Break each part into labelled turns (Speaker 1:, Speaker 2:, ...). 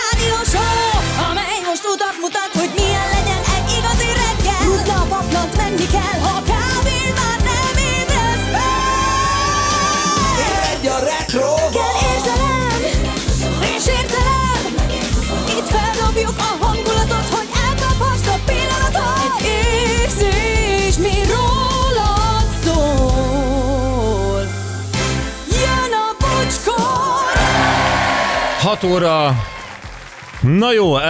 Speaker 1: rádió show, amely most utat mutat, hogy milyen legyen egy igazi reggel. Rutna a paplant, menni kell, ha kávén már nem ébresz fel.
Speaker 2: Egy a retro
Speaker 1: Kell érzelem, és értelem, itt feldobjuk a hangulatot, hogy elkaphast a pillanatot. Egy érzés, mi rólad szól. Jön a bocskor!
Speaker 3: 6 óra. Na jó, um,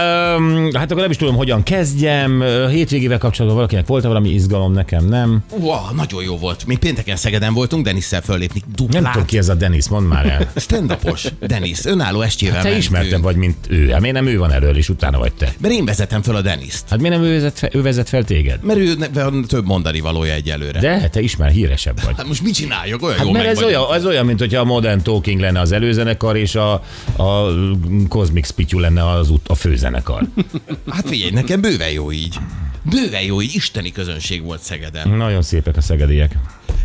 Speaker 3: hát akkor nem is tudom, hogyan kezdjem. Ö, Hétvégével kapcsolatban valakinek volt valami izgalom, nekem nem.
Speaker 2: Wow, nagyon jó volt. Mi pénteken Szegeden voltunk, Denisszel föllépni
Speaker 3: Nem
Speaker 2: duplát.
Speaker 3: tudom, ki ez a Denis, mondd már el.
Speaker 2: Stand-upos. Denis, önálló estjével
Speaker 3: Hát Te
Speaker 2: mentünk.
Speaker 3: ismertebb vagy, mint ő. Hát miért nem ő van elől, és utána vagy te?
Speaker 2: Mert én vezetem föl a Deniszt.
Speaker 3: Hát miért nem ő vezet fel, ő vezet fel téged?
Speaker 2: Mert ő ne- van több mondani valója egyelőre.
Speaker 3: De te ismer, híresebb vagy.
Speaker 2: Hát most mit csináljak? Olyan
Speaker 3: Hát
Speaker 2: jó
Speaker 3: mert ez olyan, ez olyan, mint hogyha a Modern Talking lenne az előzenekar, és a, a Cosmic Spityu lenne az út, a főzenekar.
Speaker 2: Hát figyelj, nekem bőven jó így. Bőven jó, így isteni közönség volt Szegeden.
Speaker 3: Nagyon szépek a szegediek.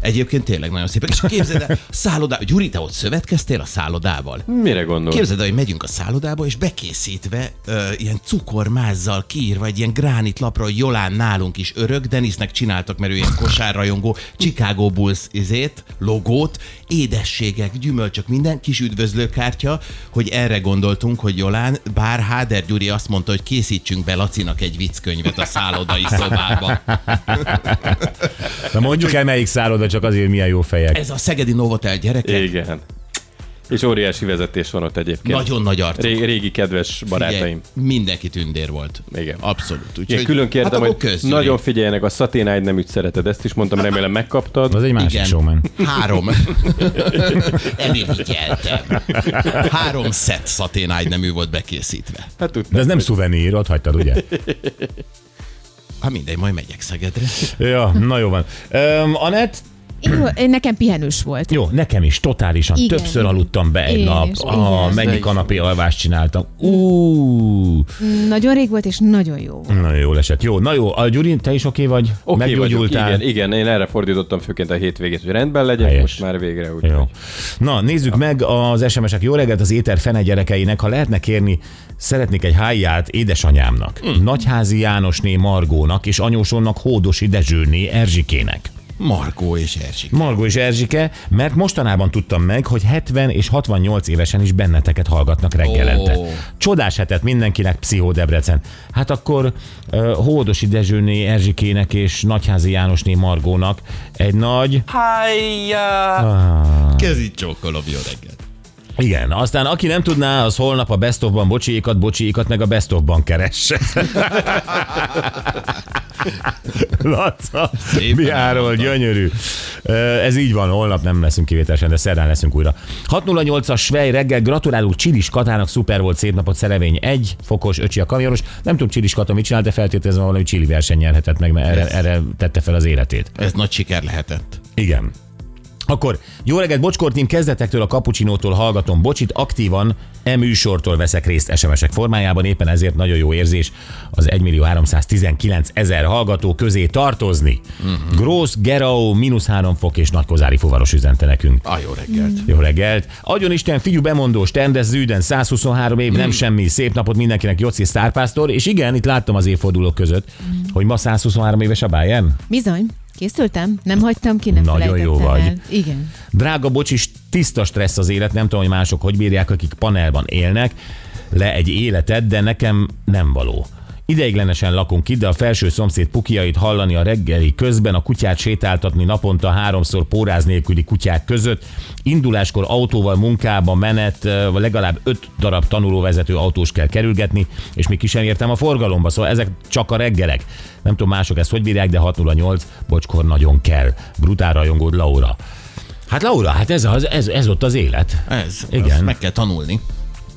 Speaker 2: Egyébként tényleg nagyon szépek. És képzeld el, szállodá... Gyuri, te ott szövetkeztél a szállodával?
Speaker 4: Mire gondolsz?
Speaker 2: Képzeld el, hogy megyünk a szállodába, és bekészítve ö, ilyen cukormázzal kiírva egy ilyen gránit lapra, hogy Jolán nálunk is örök, Denisnek csináltak, mert ő ilyen kosárrajongó, Chicago Bulls izét, logót, édességek, gyümölcsök, minden, kis üdvözlőkártya, hogy erre gondoltunk, hogy Jolán, bár Háder Gyuri azt mondta, hogy készítsünk be Lacinak egy vicckönyvet a szállodai szobába.
Speaker 3: Na mondjuk el, melyik szálloda csak azért, hogy milyen jó fejek.
Speaker 2: Ez a Szegedi Novotel gyerekek.
Speaker 4: Igen. És óriási vezetés van ott egyébként.
Speaker 2: Nagyon nagy arc.
Speaker 4: Ré- régi kedves barátaim.
Speaker 2: Figyelj, mindenki tündér volt.
Speaker 4: Igen.
Speaker 2: Abszolút. Úgyhogy,
Speaker 4: Én külön kértem,
Speaker 2: hát
Speaker 4: hogy
Speaker 2: akkor kösz, Gyuri.
Speaker 4: nagyon figyeljenek, a szaténáid nem ügy szereted, ezt is mondtam, remélem megkaptad.
Speaker 3: Az egy másik
Speaker 2: Igen.
Speaker 3: showman.
Speaker 2: Három. Elirigyeltem. Három szett szaténágy nemű volt bekészítve.
Speaker 4: Hát tudtam.
Speaker 3: De ez nem szuvenír, ott hagytad, ugye?
Speaker 2: Ha mindegy, majd megyek Szegedre.
Speaker 3: Ja, na jó van. Öm, Anett,
Speaker 5: Jó, én nekem pihenős volt.
Speaker 3: jó, nekem is totálisan.
Speaker 5: Igen.
Speaker 3: Többször aludtam be egy
Speaker 5: Én
Speaker 3: nap.
Speaker 5: is,
Speaker 3: Ah,
Speaker 5: igen.
Speaker 3: mennyi kanapé alvást csináltam. Ú,
Speaker 5: Nagyon rég volt, és nagyon jó. volt.
Speaker 3: nagyon jól esett. Jó, na jó, a Gyuri, te is oké vagy?
Speaker 4: Oké vagyok,
Speaker 3: Meggyógyultál?
Speaker 4: igen, igen, én erre fordítottam főként a hétvégét, hogy rendben legyen,
Speaker 3: Helyes.
Speaker 4: most már végre úgy.
Speaker 3: Jó. Na, nézzük meg az SMS-ek. Jó reggelt az éter fene gyerekeinek. Ha lehetne kérni, szeretnék egy háját édesanyámnak,
Speaker 4: Hmm.
Speaker 3: Nagyházi Jánosné Margónak és anyósomnak Hódosi Dezsőné Erzsikének.
Speaker 2: Markó és Erzsik.
Speaker 3: Margó és Erzsike, mert mostanában tudtam meg, hogy 70 és 68 évesen is benneteket hallgatnak reggelente.
Speaker 2: Ó.
Speaker 3: Oh. Csodás hetet mindenkinek, Pszichó Debrecen. Hát akkor uh, Hódosi Dezsőné Erzsikének és Nagyházi Jánosné Margónak egy nagy...
Speaker 2: Kezit csókolom, jó reggelt.
Speaker 3: Igen, aztán aki nem tudná, az holnap a Best of-ban bocsiékat, bocsiékat, meg a Best of-ban keresse. Laca,
Speaker 2: Szépen
Speaker 3: Miáról gyönyörű. Ö, Ez így van, holnap nem leszünk kivételesen, de szerdán leszünk újra. 608-as Svej reggel, gratulálunk Csilis Katának, szuper volt, szép napot, szerevény egy fokos, öcsi a kamionos. Nem tudom Csilis Kata mit csinált, de feltételezem valami Csili verseny nyerhetett meg, mert erre, erre tette fel az életét.
Speaker 2: Ez nagy siker lehetett.
Speaker 3: Igen. Akkor jó reggelt, Bocskortim, kezdetektől a kapucsinótól hallgatom Bocsit, aktívan e műsortól veszek részt SMS-ek formájában, éppen ezért nagyon jó érzés az 1.319.000 hallgató közé tartozni. Uh-huh. Gross, Gerau, mínusz 3 fok és Nagykozári fuvaros üzente nekünk.
Speaker 2: A jó reggelt.
Speaker 3: Jó reggelt! Adjon Isten, figyú bemondós, Tendez Zűden, 123 év, nem semmi, szép napot mindenkinek, Joci Sztárpásztor, és igen, itt láttam az évfordulók között, hogy ma 123 éves a Bayern.
Speaker 5: Bizony, készültem, nem hagytam ki, nem
Speaker 3: Nagyon jó
Speaker 5: felejtettem
Speaker 3: vagy.
Speaker 5: el. Igen.
Speaker 3: Drága bocsis, tiszta stressz az élet, nem tudom, hogy mások hogy bírják, akik panelban élnek, le egy életet, de nekem nem való. Ideiglenesen lakunk itt, de a felső szomszéd pukiait hallani a reggeli közben, a kutyát sétáltatni naponta háromszor póráz nélküli kutyák között, induláskor autóval munkába menet, ö, legalább öt darab tanulóvezető autós kell kerülgetni, és még ki sem értem a forgalomba, szóval ezek csak a reggelek. Nem tudom mások ezt hogy bírják, de 608, bocskor nagyon kell. Brutál rajongód Laura. Hát Laura, hát ez, az, ez, ez ott az élet.
Speaker 2: Ez.
Speaker 3: Igen.
Speaker 2: Ezt meg kell tanulni.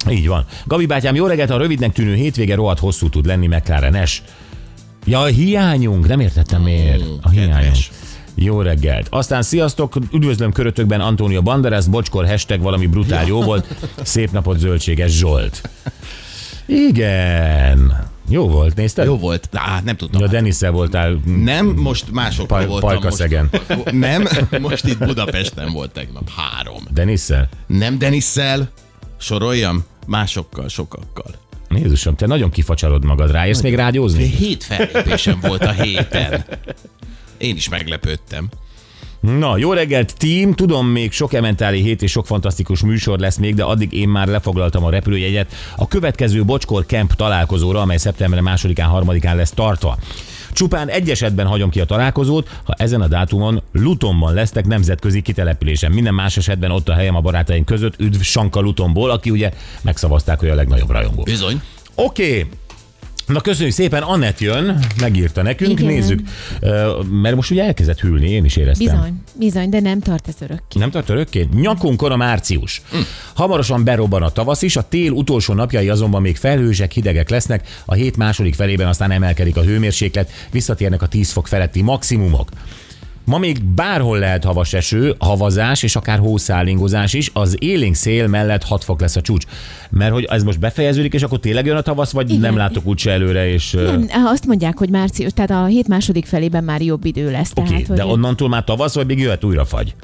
Speaker 3: Így van. Gabi bátyám, jó reggelt, a rövidnek tűnő hétvége rohadt hosszú tud lenni McLaren-es. Ja, a hiányunk, nem értettem miért. A hiányunk.
Speaker 2: Hmm, kedves.
Speaker 3: Jó reggelt. Aztán sziasztok, üdvözlöm körötökben Antónia Banderas, bocskor, hashtag valami brutál jó volt. Szép napot, zöldséges Zsolt. Igen. Jó volt, nézted?
Speaker 2: Jó volt. Á, nem tudtam.
Speaker 3: Ja, Denisszel voltál.
Speaker 2: Nem, most másokkal
Speaker 3: Paj-
Speaker 2: voltam.
Speaker 3: Pajkaszegen.
Speaker 2: Most, nem, most itt Budapesten volt tegnap. Három.
Speaker 3: Denisszel?
Speaker 2: Nem Denisszel, soroljam, másokkal, sokakkal.
Speaker 3: Jézusom, te nagyon kifacsarod magad rá. Érsz még rádiózni?
Speaker 2: Hét fellépésem volt a héten. Én is meglepődtem.
Speaker 3: Na, jó reggelt, team! Tudom, még sok ementáli hét és sok fantasztikus műsor lesz még, de addig én már lefoglaltam a repülőjegyet a következő Bocskor Camp találkozóra, amely szeptember 2-án, 3-án lesz tartva. Csupán egy esetben hagyom ki a találkozót, ha ezen a dátumon Lutonban lesztek nemzetközi kitelepülésen. Minden más esetben ott a helyem a barátaink között, üdv Sanka Lutonból, aki ugye megszavazták, hogy a legnagyobb rajongó.
Speaker 2: Bizony.
Speaker 3: Oké. Okay. Na köszönjük szépen, Anett jön, megírta nekünk,
Speaker 5: Igen.
Speaker 3: nézzük. Ö, Mert most ugye elkezdett hűlni, én is éreztem.
Speaker 5: Bizony, bizony, de nem tart ez örökké.
Speaker 3: Nem tart örökké? Nyakunkon a március. Hm. Hamarosan berobban a tavasz is, a tél utolsó napjai azonban még felhősek, hidegek lesznek, a hét második felében aztán emelkedik a hőmérséklet, visszatérnek a 10 fok feletti maximumok. Ma még bárhol lehet havas eső, havazás és akár hószálingozás is, az élénk szél mellett 6 fok lesz a csúcs. Mert hogy ez most befejeződik, és akkor tényleg jön a tavasz, vagy Igen.
Speaker 5: Igen.
Speaker 3: nem látok úgyse előre, és... ö,
Speaker 5: Nem, azt mondják, hogy március, tehát a hét második felében már jobb idő lesz.
Speaker 3: Oké,
Speaker 5: tehát,
Speaker 3: okay, de onnantól már tavasz, vagy még jöhet újra fagy?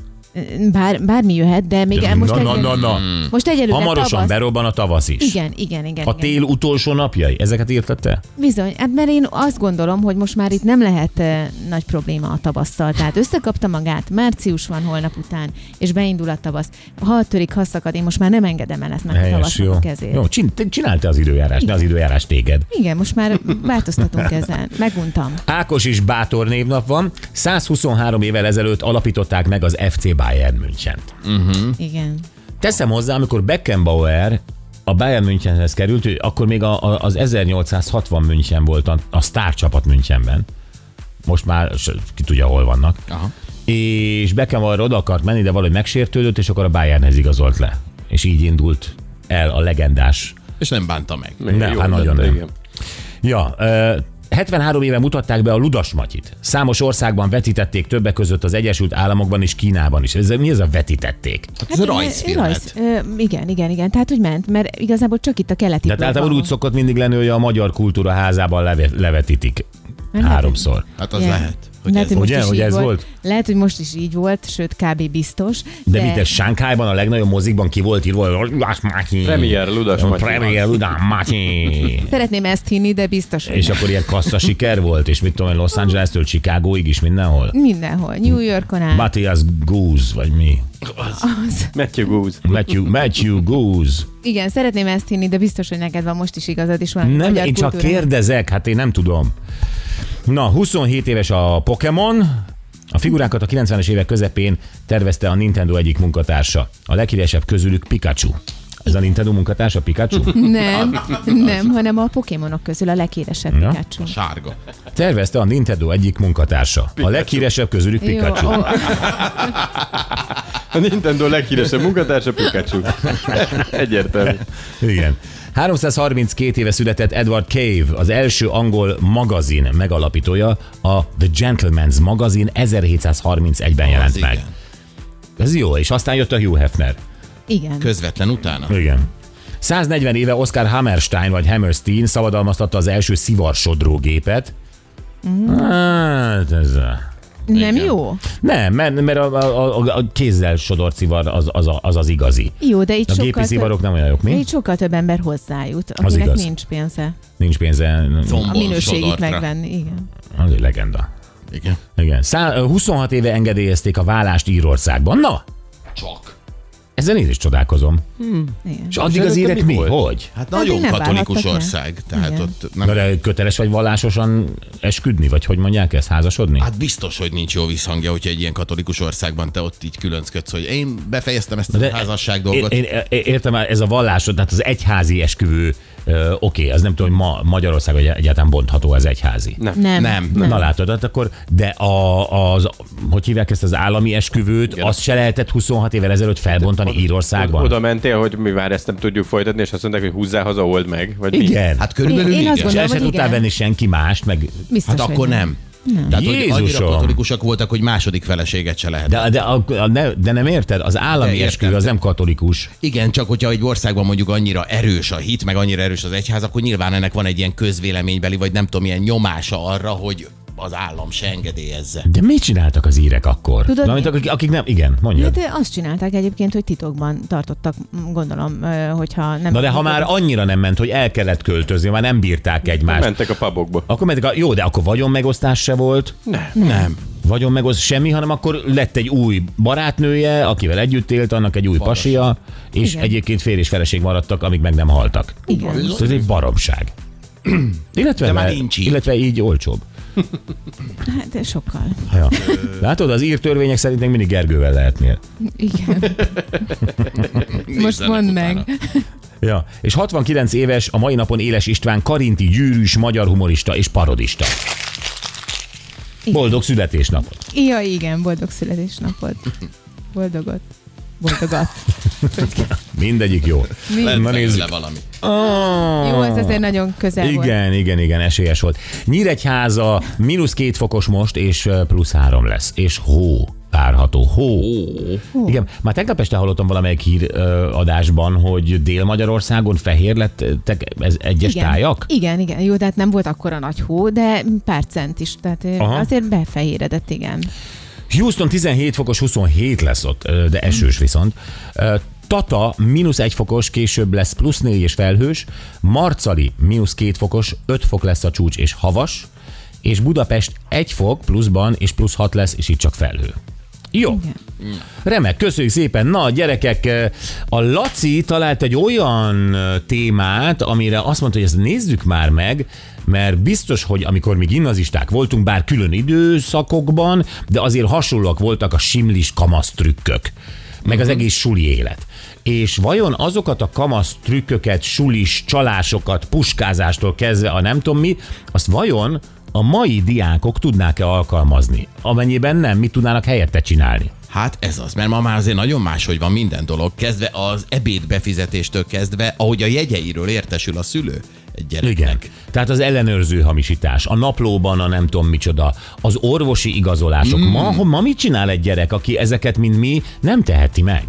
Speaker 5: bár, bármi jöhet, de még
Speaker 3: De-
Speaker 5: most,
Speaker 3: na, na, na,
Speaker 5: egyelőre-
Speaker 3: na.
Speaker 5: most egyelőre
Speaker 3: Hamarosan
Speaker 5: tavasz.
Speaker 3: berobban a tavasz is.
Speaker 5: Igen, igen, igen.
Speaker 3: A
Speaker 5: igen.
Speaker 3: tél utolsó napjai, ezeket írtad te?
Speaker 5: Bizony, hát mert én azt gondolom, hogy most már itt nem lehet eh, nagy probléma a tavasszal. Tehát összekapta magát, március van holnap után, és beindul a tavasz. Ha törik, ha szakad, én most már nem engedem el ezt meg a tavasznak
Speaker 3: jó.
Speaker 5: a kezét.
Speaker 3: Jó, csin- te- csináld te az időjárást, ne az időjárás téged.
Speaker 5: Igen, most már változtatunk ezen. Meguntam.
Speaker 3: Ákos is bátor névnap van. 123 évvel ezelőtt alapították meg az FC Bayern Münchent. Hm.
Speaker 5: Igen.
Speaker 3: Teszem hozzá, amikor Beckenbauer a Bayern Münchenhez került, ő akkor még a, a, az 1860 München volt a, a sztárcsapat Münchenben. Most már s- ki tudja, hol vannak.
Speaker 2: Aha.
Speaker 3: és Beckenbauer oda akart menni, de valahogy megsértődött, és akkor a Bayernhez igazolt le. És így indult el a legendás.
Speaker 2: És nem bánta meg.
Speaker 3: Nem,
Speaker 4: Jó
Speaker 3: hát
Speaker 4: ötlet,
Speaker 3: nagyon
Speaker 4: de
Speaker 3: nem.
Speaker 4: igen.
Speaker 3: Ja, ö, 73 éve mutatták be a Ludas Matyit. Számos országban vetítették többek között az Egyesült Államokban és Kínában is. Ez, mi ez a vetítették?
Speaker 2: Hát Ez a rajzfilmet.
Speaker 5: Hát Rajz, ö, igen, igen, igen. Tehát úgy ment, mert igazából csak itt a keleti.
Speaker 3: De hát általában
Speaker 5: blogban.
Speaker 3: úgy szokott mindig lenni, hogy a Magyar Kultúra házában leve, levetítik.
Speaker 5: Mert
Speaker 3: Háromszor.
Speaker 2: Hát az
Speaker 5: Igen.
Speaker 2: lehet. Hogy
Speaker 5: lehet,
Speaker 2: ez
Speaker 5: hogy most
Speaker 3: Ugye,
Speaker 5: is
Speaker 3: hogy
Speaker 5: így
Speaker 3: ez
Speaker 5: volt.
Speaker 3: volt?
Speaker 5: Lehet, hogy most is így volt, sőt, kb. biztos.
Speaker 3: De, de mit ez Sánkhájban, a legnagyobb mozikban ki volt írva? hogy Ludas Matyi.
Speaker 4: Premier Ludas Matyi.
Speaker 3: Premier Ludas Matyi.
Speaker 5: Szeretném ezt hinni, de biztos, hogy
Speaker 3: És akkor ilyen kassza siker volt, és mit tudom én, Los Angeles-től Chicagóig is mindenhol.
Speaker 5: Mindenhol. New Yorkon át.
Speaker 3: Matthias Goose, vagy mi?
Speaker 5: Az.
Speaker 4: Matthew Goose.
Speaker 3: Matthew, Matthew Goose.
Speaker 5: Igen, szeretném ezt hinni, de biztos, hogy neked van most is igazad, és valami
Speaker 3: Nem,
Speaker 5: magyar
Speaker 3: én csak
Speaker 5: kultúra.
Speaker 3: kérdezek, hát én nem tudom. Na, 27 éves a Pokémon. A figurákat a 90-es évek közepén tervezte a Nintendo egyik munkatársa. A leghíresebb közülük Pikachu. Ez a Nintendo munkatársa Pikachu?
Speaker 5: Nem, nem, hanem a Pokémonok közül a leghíresebb
Speaker 3: Na.
Speaker 5: Pikachu.
Speaker 2: Sárga.
Speaker 3: Tervezte a Nintendo egyik munkatársa. A leghíresebb közülük Pikachu.
Speaker 5: Jó, ó,
Speaker 4: A Nintendo leghíresebb munkatársa Pikachu. Egyértelmű.
Speaker 3: Igen. 332 éve született Edward Cave, az első angol magazin megalapítója, a The Gentleman's magazin 1731-ben jelent
Speaker 2: Az
Speaker 3: meg.
Speaker 2: igen.
Speaker 3: Ez jó, és aztán jött a Hugh Hefner.
Speaker 5: igen.
Speaker 2: Közvetlen utána.
Speaker 3: Igen. 140 éve Oscar Hammerstein vagy Hammerstein szabadalmaztatta az első szivarsodrógépet. Hát ez...
Speaker 5: Nem
Speaker 2: Igen.
Speaker 5: jó?
Speaker 3: Nem, mert, mert a, a, a, a kézzel sodort szivar az az, a, az, az igazi.
Speaker 5: Jó, de itt
Speaker 3: A
Speaker 5: sokkal
Speaker 3: gépi szivarok nem olyan jók,
Speaker 5: több,
Speaker 3: mi?
Speaker 5: itt sokkal több ember hozzájut, akinek
Speaker 3: igaz.
Speaker 5: nincs pénze
Speaker 3: Nincs pénze.
Speaker 5: a
Speaker 2: Combon
Speaker 5: minőségét
Speaker 2: sodortra.
Speaker 5: megvenni. Igen.
Speaker 3: Az egy legenda.
Speaker 2: Igen.
Speaker 3: Igen. Szá- ö, 26 éve engedélyezték a vállást Írországban. Na,
Speaker 2: Csak.
Speaker 3: ezen én is csodálkozom.
Speaker 5: igen.
Speaker 3: És addig az
Speaker 4: előtte
Speaker 3: írek
Speaker 4: mi
Speaker 3: mi?
Speaker 4: volt?
Speaker 3: Hogy?
Speaker 2: Hát
Speaker 5: Hát
Speaker 2: nagyon
Speaker 5: még nem
Speaker 2: katolikus
Speaker 5: válhattak le.
Speaker 2: ország. Tehát
Speaker 5: Igen.
Speaker 2: ott
Speaker 3: Na
Speaker 2: nem...
Speaker 3: de köteles vagy vallásosan esküdni, vagy hogy mondják ezt, házasodni?
Speaker 2: Hát biztos, hogy nincs jó visszhangja, hogyha egy ilyen katolikus országban te ott így különcködsz, hogy én befejeztem ezt a
Speaker 3: de-
Speaker 2: házasság
Speaker 3: Én,
Speaker 2: dolgot.
Speaker 3: én, é- értem, ez a vallásod, tehát az egyházi esküvő, ö, oké, az nem tudom, hogy ma Magyarország egyáltalán bontható az egyházi.
Speaker 5: Nem.
Speaker 2: Nem.
Speaker 5: nem.
Speaker 3: Na látod, hát akkor, de a, az, hogy hívják ezt az állami esküvőt, azt se lehetett 26 évvel ezelőtt felbontani Írországban.
Speaker 4: Oda mentél, hogy mi már ezt nem tudjuk folytatni, és azt mondták, hogy húzzá haza, old meg. Vagy mi?
Speaker 3: Igen. Hát,
Speaker 2: Hát körülbelül
Speaker 5: Én- én
Speaker 2: igen.
Speaker 5: azt
Speaker 3: és
Speaker 5: gondolom,
Speaker 3: el se
Speaker 5: hogy
Speaker 3: tudtál
Speaker 5: igen.
Speaker 3: venni senki mást, meg
Speaker 5: Biztos,
Speaker 2: Hát
Speaker 5: hogy
Speaker 2: akkor nem. Tehát, hogy annyira
Speaker 3: Jézusom!
Speaker 2: katolikusak voltak, hogy második feleséget se lehet.
Speaker 3: De, de, a, a, ne, de nem érted? Az
Speaker 2: De
Speaker 3: állami
Speaker 2: értem.
Speaker 3: esküvő az nem katolikus.
Speaker 2: Igen, csak hogyha egy országban mondjuk annyira erős a hit, meg annyira erős az egyház, akkor nyilván ennek van egy ilyen közvéleménybeli, vagy nem tudom, ilyen nyomása arra, hogy az állam se engedélyezze.
Speaker 3: De mit csináltak az írek akkor?
Speaker 5: Tudod,
Speaker 3: Tudod, Valamint,
Speaker 5: mi-
Speaker 3: akik, akik nem, igen, mondja.
Speaker 5: Hát ö, azt csinálták egyébként, hogy titokban tartottak, m, gondolom, ö, hogyha nem...
Speaker 3: Na de ha már annyira nem ment, hogy el kellett költözni, már nem bírták egymást.
Speaker 4: Mentek a pubokba.
Speaker 3: Akkor mentek a, jó, de akkor vagyon megosztás se volt,
Speaker 2: Nem.
Speaker 3: vagyon megosztás semmi, hanem akkor lett egy új barátnője, akivel együtt élt, annak egy új pasia, és
Speaker 5: Igen.
Speaker 3: egyébként férj és feleség maradtak, amíg meg nem haltak.
Speaker 5: Igen.
Speaker 3: Ez egy baromság. Illetve,
Speaker 2: De már
Speaker 3: le-
Speaker 2: nincs így.
Speaker 3: illetve így olcsóbb.
Speaker 5: Hát sokkal.
Speaker 3: Ja. Látod, az ír törvények szerint még mindig Gergővel lehetnél.
Speaker 5: Igen. Most
Speaker 2: Nézzenek
Speaker 5: mondd
Speaker 2: utána.
Speaker 5: meg.
Speaker 3: Ja. És 69 éves, a mai napon éles István karinti gyűrűs magyar humorista és parodista. Boldog születésnapot!
Speaker 5: Ja, igen, boldog születésnapod. Boldogot. Boldogat.
Speaker 3: Mindegyik jó.
Speaker 2: Lehet
Speaker 3: Na nézzük.
Speaker 2: belőle valami.
Speaker 3: Oh.
Speaker 5: Jó, ez azért nagyon közel volt.
Speaker 3: Igen, igen, igen, esélyes volt. Nyíregyháza mínusz két fokos most, és ö, plusz három lesz. És hó várható. Hó. hó. Igen, már tegnap este hallottam valamelyik híradásban, hogy Dél-Magyarországon fehér lettek ez egyes
Speaker 5: Igen.
Speaker 3: tájak?
Speaker 5: Igen, igen. Jó, tehát nem volt akkora nagy hó, de pár cent is. Tehát ö,
Speaker 3: Aha.
Speaker 5: azért befehéredett, igen.
Speaker 3: Houston 17 fokos, 27 lesz ott, ö, de esős viszont. Ö, Tata mínusz 1 fokos, később lesz plusz 4 és felhős. Marcali mínusz 2 fokos, 5 fok lesz a csúcs és havas. És Budapest 1 fok pluszban és plusz 6 lesz, és itt csak felhő. Jó.
Speaker 5: Igen.
Speaker 3: Remek, köszönjük szépen. Na, gyerekek, ö, a Laci talált egy olyan ö, témát, amire azt mondta, hogy ezt nézzük már meg, mert biztos, hogy amikor mi gimnazisták voltunk, bár külön időszakokban, de azért hasonlóak voltak a simlis kamasz trükkök, meg az egész suli élet. És vajon azokat a kamasz trükköket, sulis csalásokat, puskázástól kezdve a nem tudom mi, azt vajon a mai diákok tudnák-e alkalmazni? Amennyiben nem, mit tudnának helyette csinálni?
Speaker 2: Hát ez az, mert ma már azért nagyon máshogy van minden dolog, kezdve az ebéd befizetéstől kezdve, ahogy a jegyeiről értesül a szülő egy gyereknek.
Speaker 3: Igen.
Speaker 5: Hát
Speaker 3: Tehát az ellenőrző hamisítás, a naplóban a nem tudom micsoda, az orvosi igazolások. Mm. Ma, ma mit csinál egy gyerek, aki ezeket, mint mi, nem teheti meg?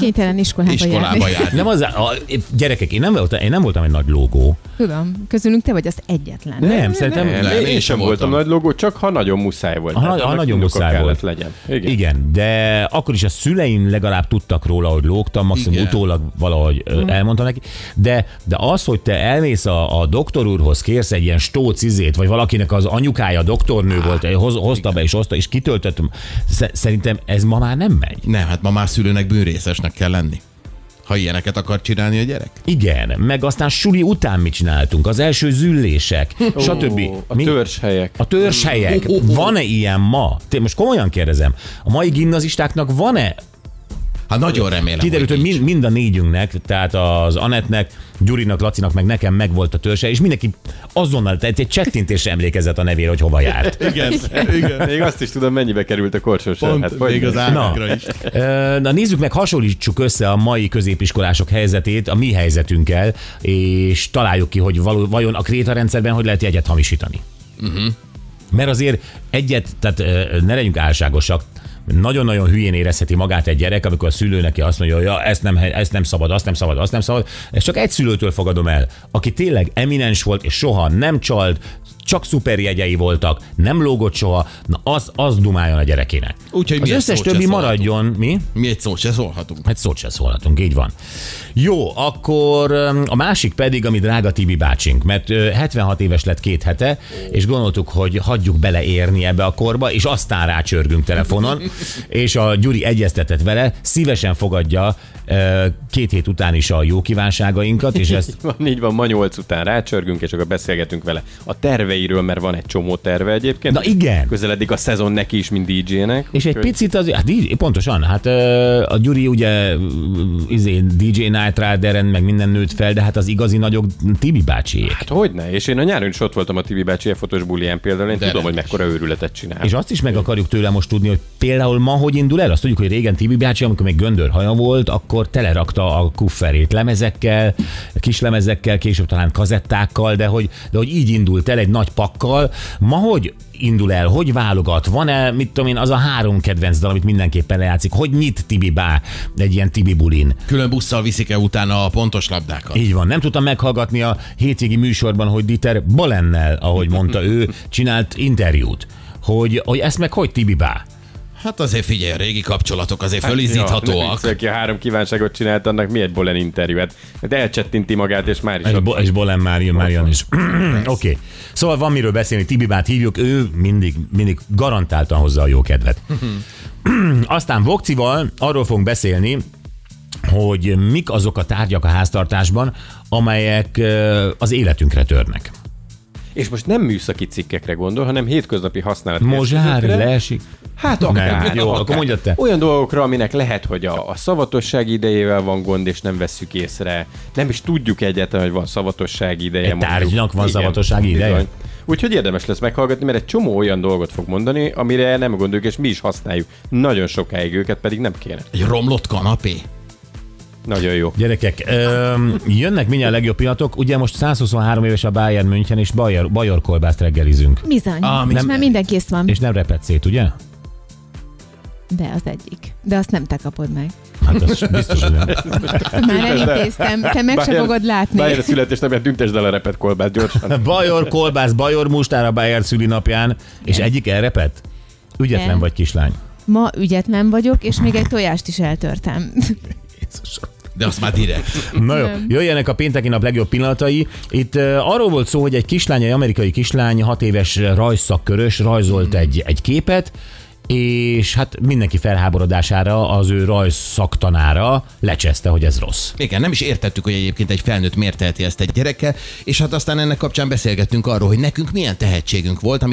Speaker 5: Kénytelen iskolába,
Speaker 2: Iskolába
Speaker 5: járni.
Speaker 2: járni.
Speaker 3: Nem az, a, gyerekek, én nem, voltam, én nem voltam egy nagy logó.
Speaker 5: Tudom, közülünk te vagy az egyetlen.
Speaker 3: Nem, szerintem...
Speaker 4: Nem,
Speaker 2: nem,
Speaker 4: én,
Speaker 2: én
Speaker 4: én
Speaker 2: sem
Speaker 4: sem
Speaker 2: voltam.
Speaker 4: voltam nagy logó, csak ha nagyon muszáj volt.
Speaker 3: Ha
Speaker 4: Tehát
Speaker 3: nagy- ha
Speaker 4: annak
Speaker 3: nagyon
Speaker 4: indoka
Speaker 3: muszáj
Speaker 4: kellett
Speaker 3: volt.
Speaker 4: legyen. Igen. Igen.
Speaker 3: Igen, de akkor is a szüleim legalább tudtak róla, hogy lógtam, maximum
Speaker 2: Igen.
Speaker 3: Igen. utólag valahogy mm. elmondtam neki, de, de az, hogy te elmész a, a doktor úrhoz, kérsz egy ilyen stóc izét, vagy valakinek az anyukája doktornő volt, hoz, hozta be és hozta, és kitöltöttem, Sze- szerintem ez ma már nem megy.
Speaker 2: Nem, hát ma már szülőnek bűnrészesnek kell lenni. Ha ilyeneket akar csinálni a gyerek.
Speaker 3: Igen, meg aztán suli után mit csináltunk, az első züllések, oh, stb.
Speaker 4: Ó, A törshelyek.
Speaker 3: A törzshelyek. Van-e ilyen ma? Te most komolyan kérdezem. A mai gimnazistáknak van-e
Speaker 2: Hát nagyon remélem.
Speaker 3: Kiderült, hogy
Speaker 2: nincs.
Speaker 3: mind, mind a négyünknek, tehát az Anetnek, Gyurinak, Lacinak, meg nekem megvolt a törse, és mindenki azonnal, tehát egy csettintésre emlékezett a nevére, hogy hova járt.
Speaker 2: Igen, igen.
Speaker 4: Még azt is tudom, mennyibe került a korcsos
Speaker 2: Pont,
Speaker 4: hát,
Speaker 2: még az állagra
Speaker 3: Na.
Speaker 2: is.
Speaker 3: Ö, Na nézzük meg, hasonlítsuk össze a mai középiskolások helyzetét a mi helyzetünkkel, és találjuk ki, hogy való, vajon a krétarendszerben hogy lehet jegyet hamisítani. Uh-huh. Mert azért egyet, tehát ö, ne legyünk álságosak, nagyon-nagyon hülyén érezheti magát egy gyerek, amikor a szülő neki azt mondja, hogy ja, ezt, nem, ezt nem szabad, azt nem szabad, azt nem szabad. Ezt csak egy szülőtől fogadom el, aki tényleg eminens volt, és soha nem csalt, csak szuper jegyei voltak, nem lógott soha, na az, az dumáljon a gyerekének.
Speaker 2: Úgyhogy
Speaker 3: az
Speaker 2: mi ezt
Speaker 3: összes
Speaker 2: szót se
Speaker 3: többi
Speaker 2: szólhatunk.
Speaker 3: maradjon, mi?
Speaker 2: Mi egy szót se szólhatunk.
Speaker 3: Hát szót sem szólhatunk, így van. Jó, akkor öm, a másik pedig, ami drága Tibi bácsink, mert ö, 76 éves lett két hete, és gondoltuk, hogy hagyjuk beleérni ebbe a korba, és aztán rácsörgünk telefonon, és a Gyuri egyeztetett vele, szívesen fogadja ö, két hét után is a jó kívánságainkat, és ezt
Speaker 4: Van, így van, ma nyolc után rácsörgünk, és akkor beszélgetünk vele a terveiről, mert van egy csomó terve egyébként.
Speaker 3: Na igen.
Speaker 4: Közeledik a szezon neki is, mint DJ-nek.
Speaker 3: És egy
Speaker 4: úgyhogy-
Speaker 3: picit az, hát így, pontosan, hát ö, a Gyuri ugye ö, izé, DJ Night Rideren, meg minden nőtt fel, de hát az igazi nagyok Tibi bácsiék.
Speaker 4: Hát hogyne, és én a nyáron is ott voltam a Tibi bácsi fotós bulián például, én
Speaker 2: De
Speaker 4: tudom,
Speaker 2: nem
Speaker 4: hogy mekkora őrületet csinál.
Speaker 3: És azt is meg akarjuk tőle most tudni, hogy például ma hogy indul el. Azt tudjuk, hogy régen Tibi bácsi, amikor még göndörhaja volt, akkor telerakta a kufferét lemezekkel, kis lemezekkel, később talán kazettákkal, de hogy, de hogy így indult el egy nagy pakkal. Ma hogy indul el, hogy válogat, van-e, mit tudom én, az a három kedvenc dal, amit mindenképpen lejátszik, hogy nyit Tibi Bá egy ilyen Tibi bulin.
Speaker 2: Külön busszal viszik el utána a pontos labdákat.
Speaker 3: Így van, nem tudtam meghallgatni a hétvégi műsorban, hogy Dieter Balennel, ahogy mondta ő, csinált interjút. Hogy, hogy ezt meg hogy Tibi Bá?
Speaker 2: Hát azért figyelj, a régi kapcsolatok azért
Speaker 4: Ja, ne
Speaker 2: fölizíthatóak.
Speaker 4: viccelj, aki a három kívánságot csinált, annak mi egy Bolen interjúet? Hát elcsettinti magát, és már is
Speaker 3: És,
Speaker 4: ott
Speaker 3: bo- és Bolen már jön, már jön is. Oké. Okay. Szóval van miről beszélni, Tibi Bát hívjuk, ő mindig, mindig garantáltan hozza a jó kedvet. Aztán Vokcival arról fogunk beszélni, hogy mik azok a tárgyak a háztartásban, amelyek ö, az életünkre törnek.
Speaker 4: És most nem műszaki cikkekre gondol, hanem hétköznapi használat.
Speaker 3: Mozsár
Speaker 4: eszközökre.
Speaker 3: leesik.
Speaker 4: Hát akár.
Speaker 3: Nem, jó,
Speaker 4: akár.
Speaker 3: akkor mondjad te.
Speaker 4: Olyan dolgokra, aminek lehet, hogy a, a szavatosság idejével van gond, és nem vesszük észre. Nem is tudjuk egyáltalán, hogy van szavatosság ideje.
Speaker 3: Egy
Speaker 4: mondjuk.
Speaker 3: tárgynak van
Speaker 4: Igen,
Speaker 3: szavatossági
Speaker 4: bizony.
Speaker 3: ideje?
Speaker 4: Úgyhogy érdemes lesz meghallgatni, mert egy csomó olyan dolgot fog mondani, amire nem gondoljuk, és mi is használjuk. Nagyon sokáig őket pedig nem kéne.
Speaker 2: Egy romlott kanapé.
Speaker 4: Nagyon jó.
Speaker 3: Gyerekek, öm, jönnek mindjárt a legjobb pillanatok. Ugye most 123 éves a Bayern München, és Bajor, Bajor kolbászt reggelizünk.
Speaker 5: Bizony.
Speaker 2: Ah,
Speaker 5: Ah,
Speaker 2: mi-
Speaker 5: most már minden kész van.
Speaker 3: És nem repet szét, ugye?
Speaker 5: De az egyik. De azt nem te kapod meg.
Speaker 3: Hát az biztos, hogy nem. Hát
Speaker 5: Már elintéztem. Te meg se
Speaker 4: Bayern-
Speaker 5: fogod látni.
Speaker 4: Bayern születésnapján tüntesd el a repet kolbát gyorsan.
Speaker 3: Bajor kolbász, Bajor mustár a Bayern szülinapján, és egyik elrepet? Ügyetlen
Speaker 5: Nem.
Speaker 3: vagy kislány.
Speaker 5: Ma ügyetlen vagyok, és még egy tojást is eltörtem.
Speaker 2: De azt már direkt.
Speaker 3: Na jó, jöjjenek a pénteki nap legjobb pillanatai. Itt uh, arról volt szó, hogy egy kislány, egy amerikai kislány, hat éves rajszakkörös rajzolt egy, egy képet, és hát mindenki felháborodására az ő rajszaktanára lecseszte, hogy ez rossz.
Speaker 2: Igen, nem is értettük, hogy egyébként egy felnőtt miért teheti ezt egy gyerekkel, és hát aztán ennek kapcsán beszélgettünk arról, hogy nekünk milyen tehetségünk volt, ami